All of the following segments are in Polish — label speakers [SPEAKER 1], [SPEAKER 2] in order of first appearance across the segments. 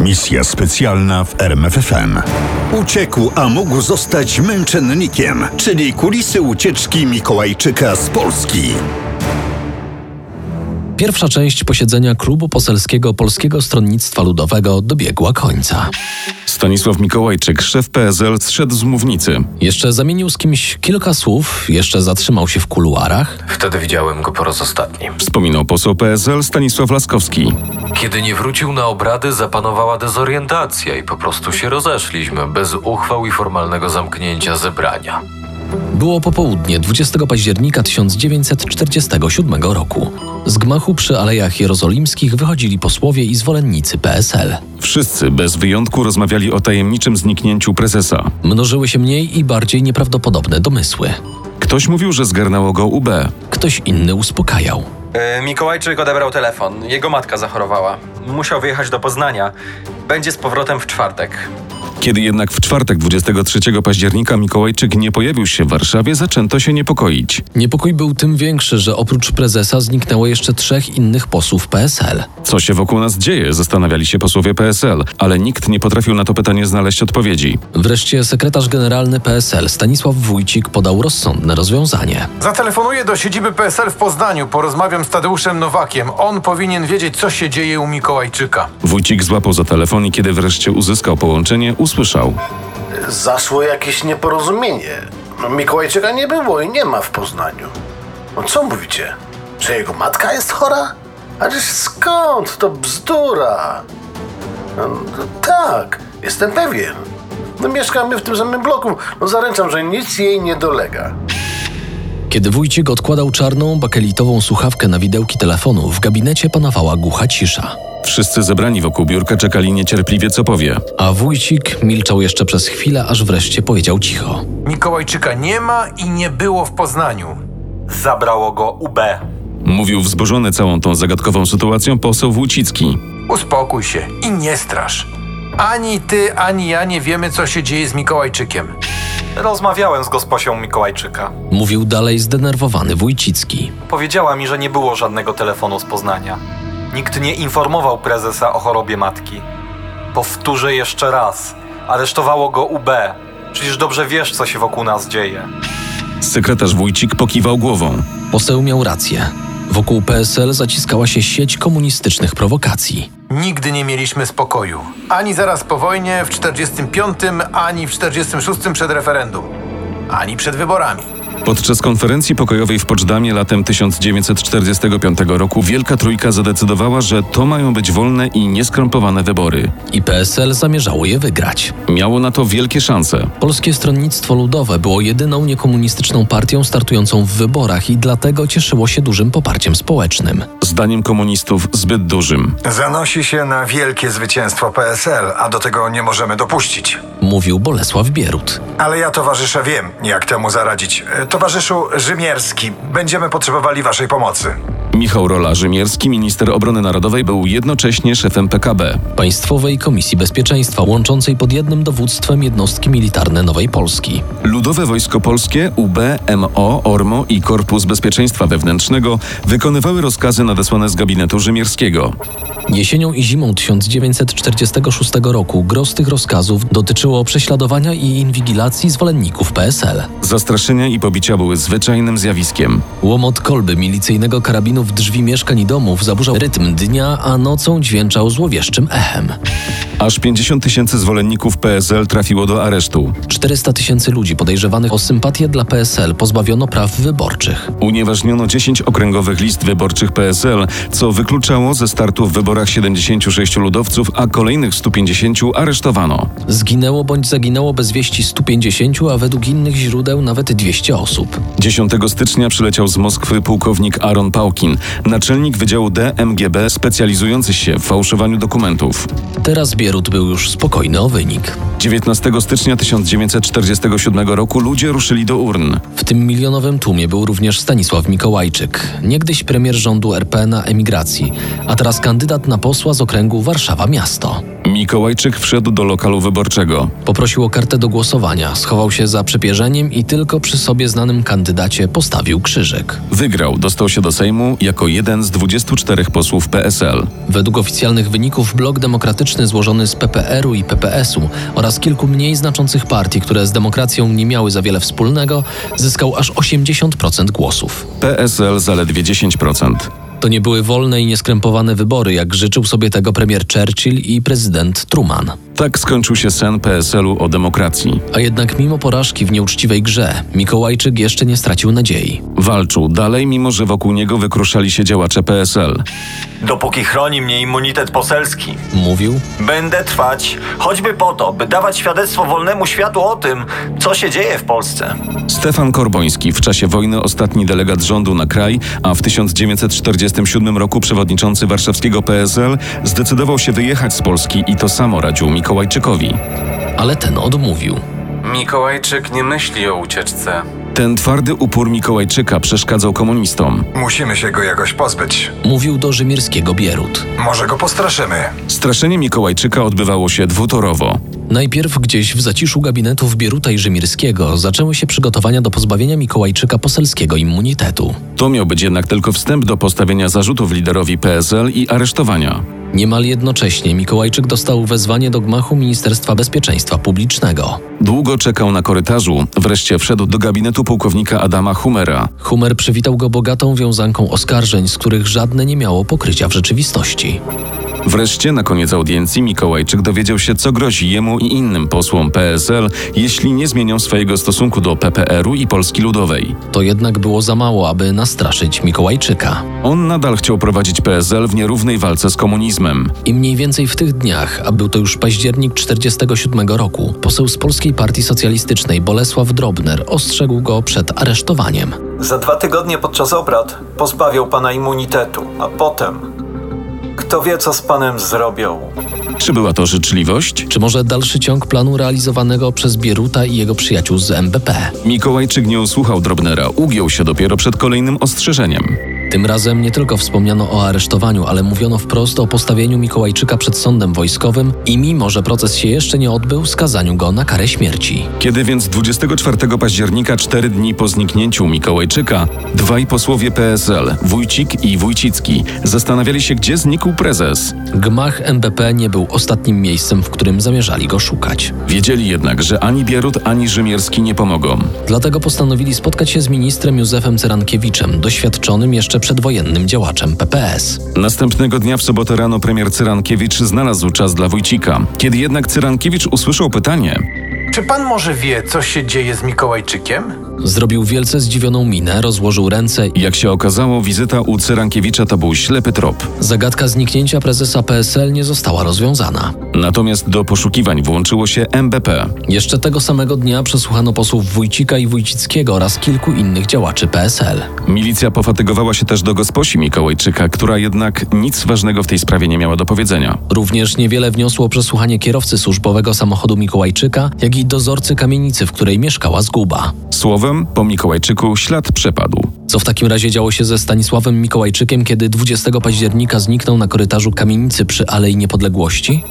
[SPEAKER 1] Misja specjalna w RMFFM. Uciekł, a mógł zostać męczennikiem, czyli kulisy ucieczki Mikołajczyka z Polski.
[SPEAKER 2] Pierwsza część posiedzenia klubu poselskiego Polskiego Stronnictwa Ludowego dobiegła końca.
[SPEAKER 3] Stanisław Mikołajczyk, szef PSL, zszedł z mównicy.
[SPEAKER 2] Jeszcze zamienił z kimś kilka słów, jeszcze zatrzymał się w kuluarach.
[SPEAKER 4] Wtedy widziałem go po raz ostatni.
[SPEAKER 3] Wspominał poseł PSL Stanisław Laskowski.
[SPEAKER 4] Kiedy nie wrócił na obrady, zapanowała dezorientacja i po prostu się rozeszliśmy, bez uchwał i formalnego zamknięcia zebrania.
[SPEAKER 2] Było popołudnie 20 października 1947 roku. Z gmachu przy Alejach Jerozolimskich wychodzili posłowie i zwolennicy PSL.
[SPEAKER 3] Wszyscy bez wyjątku rozmawiali o tajemniczym zniknięciu prezesa.
[SPEAKER 2] Mnożyły się mniej i bardziej nieprawdopodobne domysły.
[SPEAKER 3] Ktoś mówił, że zgarnęło go UB.
[SPEAKER 2] Ktoś inny uspokajał.
[SPEAKER 5] E, Mikołajczyk odebrał telefon. Jego matka zachorowała. Musiał wyjechać do Poznania. Będzie z powrotem w czwartek.
[SPEAKER 3] Kiedy jednak w czwartek 23 października Mikołajczyk nie pojawił się w Warszawie, zaczęto się niepokoić.
[SPEAKER 2] Niepokój był tym większy, że oprócz prezesa zniknęło jeszcze trzech innych posłów PSL.
[SPEAKER 3] Co się wokół nas dzieje? Zastanawiali się posłowie PSL, ale nikt nie potrafił na to pytanie znaleźć odpowiedzi.
[SPEAKER 2] Wreszcie sekretarz generalny PSL Stanisław Wójcik podał rozsądne rozwiązanie.
[SPEAKER 6] Zatelefonuję do siedziby PSL w Poznaniu, porozmawiam z Tadeuszem Nowakiem. On powinien wiedzieć, co się dzieje u Mikołajczyka.
[SPEAKER 3] Wójcik złapał za telefon i kiedy wreszcie uzyskał połączenie, usłyszał.
[SPEAKER 7] zaszło jakieś nieporozumienie. No, Mikołajczyka nie było i nie ma w Poznaniu. No co mówicie? Że jego matka jest chora? Ależ skąd? To bzdura. No, no tak, jestem pewien. No mieszkamy w tym samym bloku. No zaręczam, że nic jej nie dolega.
[SPEAKER 2] Kiedy Wójcik odkładał czarną, bakelitową słuchawkę na widełki telefonu, w gabinecie panowała głucha cisza.
[SPEAKER 3] Wszyscy zebrani wokół biurka czekali niecierpliwie, co powie.
[SPEAKER 2] A Wójcik milczał jeszcze przez chwilę, aż wreszcie powiedział cicho.
[SPEAKER 6] Mikołajczyka nie ma i nie było w Poznaniu.
[SPEAKER 5] Zabrało go UB.
[SPEAKER 3] Mówił wzburzony całą tą zagadkową sytuacją poseł Wójcicki.
[SPEAKER 6] Uspokój się i nie strasz. Ani ty, ani ja nie wiemy, co się dzieje z Mikołajczykiem.
[SPEAKER 5] Rozmawiałem z gosposią Mikołajczyka.
[SPEAKER 2] Mówił dalej zdenerwowany Wójcicki.
[SPEAKER 5] Powiedziała mi, że nie było żadnego telefonu z Poznania. Nikt nie informował prezesa o chorobie matki. Powtórzę jeszcze raz. Aresztowało go UB. Przecież dobrze wiesz, co się wokół nas dzieje.
[SPEAKER 3] Sekretarz Wójcik pokiwał głową.
[SPEAKER 2] Poseł miał rację. Wokół PSL zaciskała się sieć komunistycznych prowokacji.
[SPEAKER 6] Nigdy nie mieliśmy spokoju. Ani zaraz po wojnie, w 45, ani w 46 przed referendum. Ani przed wyborami.
[SPEAKER 3] Podczas konferencji pokojowej w Poczdamie latem 1945 roku Wielka Trójka zadecydowała, że to mają być wolne i nieskrępowane wybory.
[SPEAKER 2] I PSL zamierzało je wygrać.
[SPEAKER 3] Miało na to wielkie szanse.
[SPEAKER 2] Polskie Stronnictwo Ludowe było jedyną niekomunistyczną partią startującą w wyborach i dlatego cieszyło się dużym poparciem społecznym.
[SPEAKER 3] Zdaniem komunistów zbyt dużym.
[SPEAKER 8] Zanosi się na wielkie zwycięstwo PSL, a do tego nie możemy dopuścić.
[SPEAKER 2] Mówił Bolesław Bierut.
[SPEAKER 8] Ale ja, towarzysze, wiem, jak temu zaradzić. E, Towarzyszu Rzymierski, będziemy potrzebowali waszej pomocy.
[SPEAKER 3] Michał Rola-Rzymierski, minister obrony narodowej, był jednocześnie szefem PKB.
[SPEAKER 2] Państwowej Komisji Bezpieczeństwa łączącej pod jednym dowództwem jednostki militarne Nowej Polski.
[SPEAKER 3] Ludowe Wojsko Polskie, UB, MO, ORMO i Korpus Bezpieczeństwa Wewnętrznego wykonywały rozkazy nadesłane z gabinetu Rzymierskiego.
[SPEAKER 2] Jesienią i zimą 1946 roku gros tych rozkazów dotyczyło prześladowania i inwigilacji zwolenników PSL.
[SPEAKER 3] Zastraszenia i pobicia były zwyczajnym zjawiskiem.
[SPEAKER 2] Łomot kolby milicyjnego karabinu w drzwi mieszkań i domów zaburzał rytm dnia, a nocą dźwięczał złowieszczym echem.
[SPEAKER 3] Aż 50 tysięcy zwolenników PSL trafiło do aresztu.
[SPEAKER 2] 400 tysięcy ludzi podejrzewanych o sympatię dla PSL pozbawiono praw wyborczych.
[SPEAKER 3] Unieważniono 10 okręgowych list wyborczych PSL, co wykluczało ze startu w wyborach 76 ludowców, a kolejnych 150 aresztowano.
[SPEAKER 2] Zginęło bądź zaginęło bez wieści 150, a według innych źródeł nawet 200 osób.
[SPEAKER 3] 10 stycznia przyleciał z Moskwy pułkownik Aaron Pałkin, naczelnik Wydziału DMGB specjalizujący się w fałszowaniu dokumentów.
[SPEAKER 2] Teraz Bierut był już spokojny o wynik.
[SPEAKER 3] 19 stycznia 1947 roku ludzie ruszyli do urn.
[SPEAKER 2] W tym milionowym tłumie był również Stanisław Mikołajczyk, niegdyś premier rządu RP na emigracji, a teraz kandydat na posła z okręgu Warszawa Miasto.
[SPEAKER 3] Mikołajczyk wszedł do lokalu wyborczego.
[SPEAKER 2] Poprosił o kartę do głosowania, schował się za przepierzeniem i tylko przy sobie znanym kandydacie postawił krzyżyk.
[SPEAKER 3] Wygrał, dostał się do Sejmu jako jeden z 24 posłów PSL.
[SPEAKER 2] Według oficjalnych wyników blok demokratyczny złożony z PPR-u i PPS-u oraz kilku mniej znaczących partii, które z demokracją nie miały za wiele wspólnego, zyskał aż 80% głosów.
[SPEAKER 3] PSL zaledwie 10%.
[SPEAKER 2] To nie były wolne i nieskrępowane wybory, jak życzył sobie tego premier Churchill i prezydent Truman.
[SPEAKER 3] Tak skończył się sen PSL-u o demokracji.
[SPEAKER 2] A jednak mimo porażki w nieuczciwej grze, Mikołajczyk jeszcze nie stracił nadziei.
[SPEAKER 3] Walczył dalej, mimo że wokół niego wykruszali się działacze PSL.
[SPEAKER 9] Dopóki chroni mnie immunitet poselski,
[SPEAKER 2] Mówił,
[SPEAKER 9] będę trwać, choćby po to, by dawać świadectwo wolnemu światu o tym, co się dzieje w Polsce.
[SPEAKER 3] Stefan Korboński, w czasie wojny ostatni delegat rządu na kraj, a w 1947 roku przewodniczący warszawskiego PSL, zdecydował się wyjechać z Polski i to samo radził Mikołajczykowi.
[SPEAKER 2] ale ten odmówił.
[SPEAKER 4] Mikołajczyk nie myśli o ucieczce.
[SPEAKER 3] Ten twardy upór Mikołajczyka przeszkadzał komunistom.
[SPEAKER 8] Musimy się go jakoś pozbyć.
[SPEAKER 2] Mówił do rzymierskiego Bierut.
[SPEAKER 8] Może go postraszymy.
[SPEAKER 3] Straszenie Mikołajczyka odbywało się dwutorowo.
[SPEAKER 2] Najpierw gdzieś w zaciszu gabinetów Bieruta i Rzymirskiego zaczęły się przygotowania do pozbawienia Mikołajczyka poselskiego immunitetu.
[SPEAKER 3] To miał być jednak tylko wstęp do postawienia zarzutów liderowi PSL i aresztowania.
[SPEAKER 2] Niemal jednocześnie Mikołajczyk dostał wezwanie do gmachu Ministerstwa Bezpieczeństwa Publicznego.
[SPEAKER 3] Długo czekał na korytarzu, wreszcie wszedł do gabinetu pułkownika Adama Humera.
[SPEAKER 2] Humer przywitał go bogatą wiązanką oskarżeń, z których żadne nie miało pokrycia w rzeczywistości.
[SPEAKER 3] Wreszcie na koniec audiencji Mikołajczyk dowiedział się, co grozi jemu i innym posłom PSL, jeśli nie zmienią swojego stosunku do PPR-u i Polski Ludowej.
[SPEAKER 2] To jednak było za mało, aby nastraszyć Mikołajczyka.
[SPEAKER 3] On nadal chciał prowadzić PSL w nierównej walce z komunizmem.
[SPEAKER 2] I mniej więcej w tych dniach, a był to już październik 1947 roku, poseł z Polskiej Partii Socjalistycznej Bolesław Drobner ostrzegł go przed aresztowaniem.
[SPEAKER 5] Za dwa tygodnie podczas obrad pozbawią pana immunitetu, a potem. Kto wie, co z panem zrobią.
[SPEAKER 3] Czy była to życzliwość?
[SPEAKER 2] Czy może dalszy ciąg planu realizowanego przez Bieruta i jego przyjaciół z MBP?
[SPEAKER 3] Mikołajczyk nie usłuchał Drobnera, ugiął się dopiero przed kolejnym ostrzeżeniem.
[SPEAKER 2] Tym razem nie tylko wspomniano o aresztowaniu, ale mówiono wprost o postawieniu Mikołajczyka przed sądem wojskowym i mimo, że proces się jeszcze nie odbył, skazaniu go na karę śmierci.
[SPEAKER 3] Kiedy więc 24 października, cztery dni po zniknięciu Mikołajczyka, dwaj posłowie PSL, Wójcik i Wójcicki, zastanawiali się, gdzie znikł prezes.
[SPEAKER 2] Gmach MBP nie był ostatnim miejscem, w którym zamierzali go szukać.
[SPEAKER 3] Wiedzieli jednak, że ani Bierut, ani Rzymierski nie pomogą.
[SPEAKER 2] Dlatego postanowili spotkać się z ministrem Józefem Cyrankiewiczem, doświadczonym jeszcze przedwojennym działaczem PPS.
[SPEAKER 3] Następnego dnia w sobotę rano premier Cyrankiewicz znalazł czas dla Wójcika. Kiedy jednak Cyrankiewicz usłyszał pytanie,
[SPEAKER 6] Czy pan może wie, co się dzieje z Mikołajczykiem?
[SPEAKER 2] Zrobił wielce zdziwioną minę, rozłożył ręce i
[SPEAKER 3] jak się okazało, wizyta u Cyrankiewicza to był ślepy trop.
[SPEAKER 2] zagadka zniknięcia prezesa PSL nie została rozwiązana.
[SPEAKER 3] Natomiast do poszukiwań włączyło się MBP.
[SPEAKER 2] Jeszcze tego samego dnia przesłuchano posłów Wójcika i Wójcickiego oraz kilku innych działaczy PSL.
[SPEAKER 3] Milicja pofatygowała się też do gosposi Mikołajczyka, która jednak nic ważnego w tej sprawie nie miała do powiedzenia.
[SPEAKER 2] Również niewiele wniosło przesłuchanie kierowcy służbowego samochodu Mikołajczyka, jak i dozorcy kamienicy, w której mieszkała zguba.
[SPEAKER 3] Słowem, po Mikołajczyku ślad przepadł.
[SPEAKER 2] Co w takim razie działo się ze Stanisławem Mikołajczykiem, kiedy 20 października zniknął na korytarzu kamienicy przy Alei Niepodległości?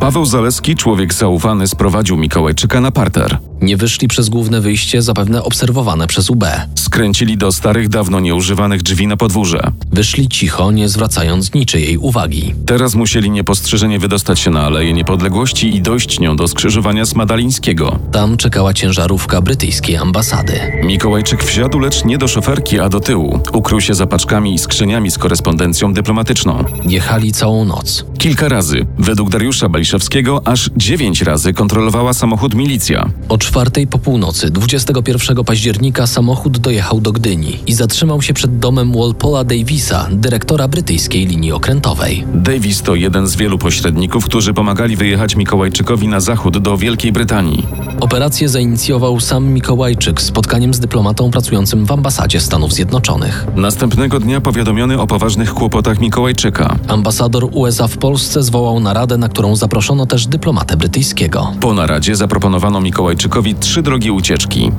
[SPEAKER 3] Paweł Zaleski, człowiek zaufany, sprowadził Mikołajczyka na parter.
[SPEAKER 2] Nie wyszli przez główne wyjście, zapewne obserwowane przez UB.
[SPEAKER 3] Skręcili do starych, dawno nieużywanych drzwi na podwórze.
[SPEAKER 2] Wyszli cicho, nie zwracając niczyjej uwagi.
[SPEAKER 3] Teraz musieli niepostrzeżenie wydostać się na Aleję Niepodległości i dojść nią do skrzyżowania Smadalińskiego.
[SPEAKER 2] Tam czekała ciężarówka brytyjskiej ambasady.
[SPEAKER 3] Mikołajczyk wsiadł, lecz nie do szoferki, a do tyłu. Ukrył się za paczkami i skrzyniami z korespondencją dyplomatyczną.
[SPEAKER 2] Jechali całą noc.
[SPEAKER 3] Kilka razy, według Dariusza Baliszewskiego, aż dziewięć razy kontrolowała samochód milicja.
[SPEAKER 2] O czwartej po północy 21 października samochód dojechał do Gdyni i zatrzymał się przed domem Walpola Davisa, dyrektora brytyjskiej linii okrętowej.
[SPEAKER 3] Davis to jeden z wielu pośredników, którzy pomagali wyjechać Mikołajczykowi na zachód do Wielkiej Brytanii.
[SPEAKER 2] Operację zainicjował sam Mikołajczyk spotkaniem z dyplomatą pracującym w ambasadzie Stanów Zjednoczonych.
[SPEAKER 3] Następnego dnia powiadomiony o poważnych kłopotach Mikołajczyka.
[SPEAKER 2] Ambasador USA w Polsce zwołał naradę, na którą zaproszono też dyplomatę brytyjskiego.
[SPEAKER 3] Po naradzie zaproponowano Mikołajczykowi trzy drogi ucieczki.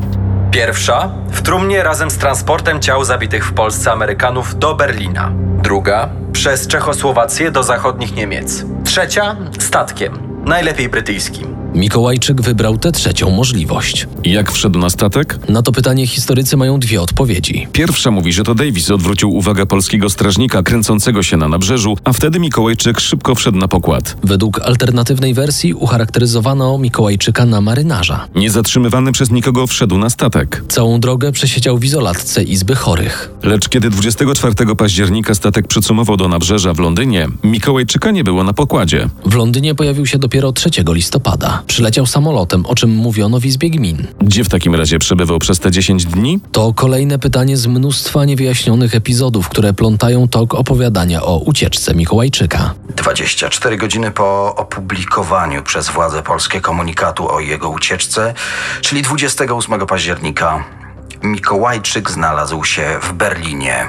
[SPEAKER 10] Pierwsza w trumnie razem z transportem ciał zabitych w Polsce Amerykanów do Berlina. Druga przez Czechosłowację do zachodnich Niemiec. Trzecia statkiem, najlepiej brytyjskim.
[SPEAKER 2] Mikołajczyk wybrał tę trzecią możliwość.
[SPEAKER 3] Jak wszedł na statek?
[SPEAKER 2] Na to pytanie historycy mają dwie odpowiedzi.
[SPEAKER 3] Pierwsza mówi, że to Davis odwrócił uwagę polskiego strażnika kręcącego się na nabrzeżu, a wtedy Mikołajczyk szybko wszedł na pokład.
[SPEAKER 2] Według alternatywnej wersji ucharakteryzowano Mikołajczyka na marynarza.
[SPEAKER 3] Niezatrzymywany przez nikogo wszedł na statek.
[SPEAKER 2] Całą drogę przesiedział w izolatce Izby Chorych.
[SPEAKER 3] Lecz kiedy 24 października statek przycumował do nabrzeża w Londynie, Mikołajczyka nie było na pokładzie.
[SPEAKER 2] W Londynie pojawił się dopiero 3 listopada. Przyleciał samolotem, o czym mówiono w Izbie Gmin.
[SPEAKER 3] Gdzie w takim razie przebywał przez te 10 dni?
[SPEAKER 2] To kolejne pytanie z mnóstwa niewyjaśnionych epizodów, które plątają tok opowiadania o ucieczce Mikołajczyka.
[SPEAKER 11] 24 godziny po opublikowaniu przez władze polskie komunikatu o jego ucieczce, czyli 28 października, Mikołajczyk znalazł się w Berlinie.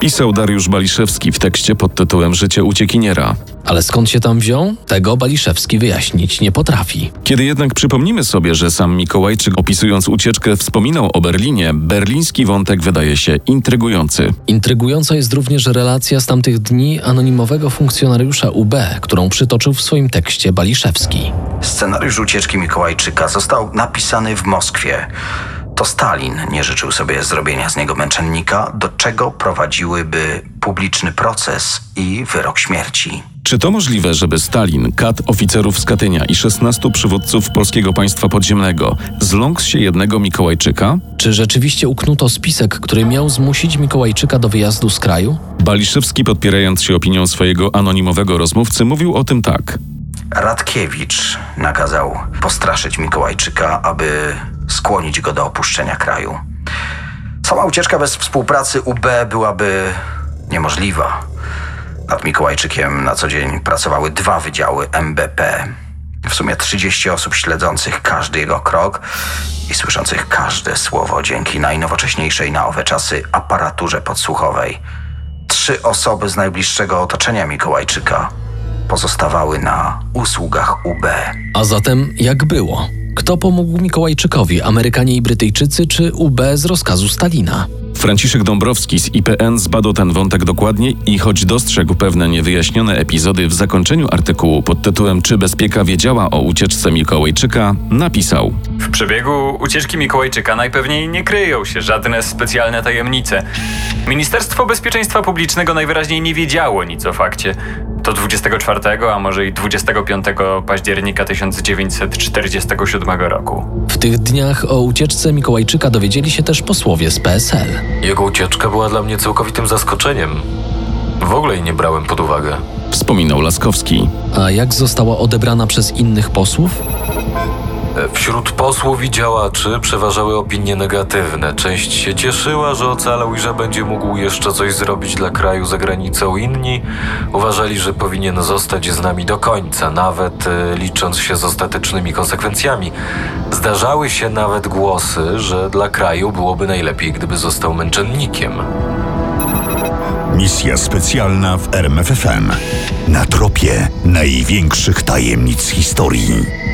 [SPEAKER 3] Pisał Dariusz Baliszewski w tekście pod tytułem Życie uciekiniera.
[SPEAKER 2] Ale skąd się tam wziął? Tego Baliszewski wyjaśnić nie potrafi.
[SPEAKER 3] Kiedy jednak przypomnimy sobie, że sam Mikołajczyk opisując ucieczkę wspominał o Berlinie, berliński wątek wydaje się intrygujący.
[SPEAKER 2] Intrygująca jest również relacja z tamtych dni anonimowego funkcjonariusza UB, którą przytoczył w swoim tekście Baliszewski.
[SPEAKER 11] Scenariusz ucieczki Mikołajczyka został napisany w Moskwie. To Stalin nie życzył sobie zrobienia z niego męczennika, do czego prowadziłyby publiczny proces i wyrok śmierci.
[SPEAKER 3] Czy to możliwe, żeby Stalin, kat oficerów z Katynia i 16 przywódców polskiego państwa podziemnego zląkł się jednego Mikołajczyka?
[SPEAKER 2] Czy rzeczywiście uknuto spisek, który miał zmusić Mikołajczyka do wyjazdu z kraju?
[SPEAKER 3] Baliszewski, podpierając się opinią swojego anonimowego rozmówcy, mówił o tym tak.
[SPEAKER 11] Radkiewicz nakazał postraszyć Mikołajczyka, aby skłonić go do opuszczenia kraju. Sama ucieczka bez współpracy UB byłaby niemożliwa. Nad Mikołajczykiem na co dzień pracowały dwa wydziały MBP. W sumie 30 osób śledzących każdy jego krok i słyszących każde słowo dzięki najnowocześniejszej na owe czasy aparaturze podsłuchowej. Trzy osoby z najbliższego otoczenia Mikołajczyka pozostawały na usługach UB.
[SPEAKER 2] A zatem jak było? Kto pomógł Mikołajczykowi, Amerykanie i Brytyjczycy czy UB z rozkazu Stalina?
[SPEAKER 3] Franciszek Dąbrowski z IPN zbadał ten wątek dokładnie i choć dostrzegł pewne niewyjaśnione epizody w zakończeniu artykułu pod tytułem Czy bezpieka wiedziała o ucieczce Mikołajczyka, napisał
[SPEAKER 10] W przebiegu ucieczki Mikołajczyka najpewniej nie kryją się żadne specjalne tajemnice. Ministerstwo Bezpieczeństwa Publicznego najwyraźniej nie wiedziało nic o fakcie. To 24, a może i 25 października 1947 roku.
[SPEAKER 2] W tych dniach o ucieczce Mikołajczyka dowiedzieli się też posłowie z PSL.
[SPEAKER 4] Jego ucieczka była dla mnie całkowitym zaskoczeniem. W ogóle jej nie brałem pod uwagę.
[SPEAKER 3] Wspominał Laskowski.
[SPEAKER 2] A jak została odebrana przez innych posłów?
[SPEAKER 4] Wśród posłów i działaczy przeważały opinie negatywne. Część się cieszyła, że ocalał i że będzie mógł jeszcze coś zrobić dla kraju za granicą. Inni uważali, że powinien zostać z nami do końca, nawet e, licząc się z ostatecznymi konsekwencjami. Zdarzały się nawet głosy, że dla kraju byłoby najlepiej, gdyby został męczennikiem.
[SPEAKER 1] Misja specjalna w RMFFM. Na tropie największych tajemnic historii.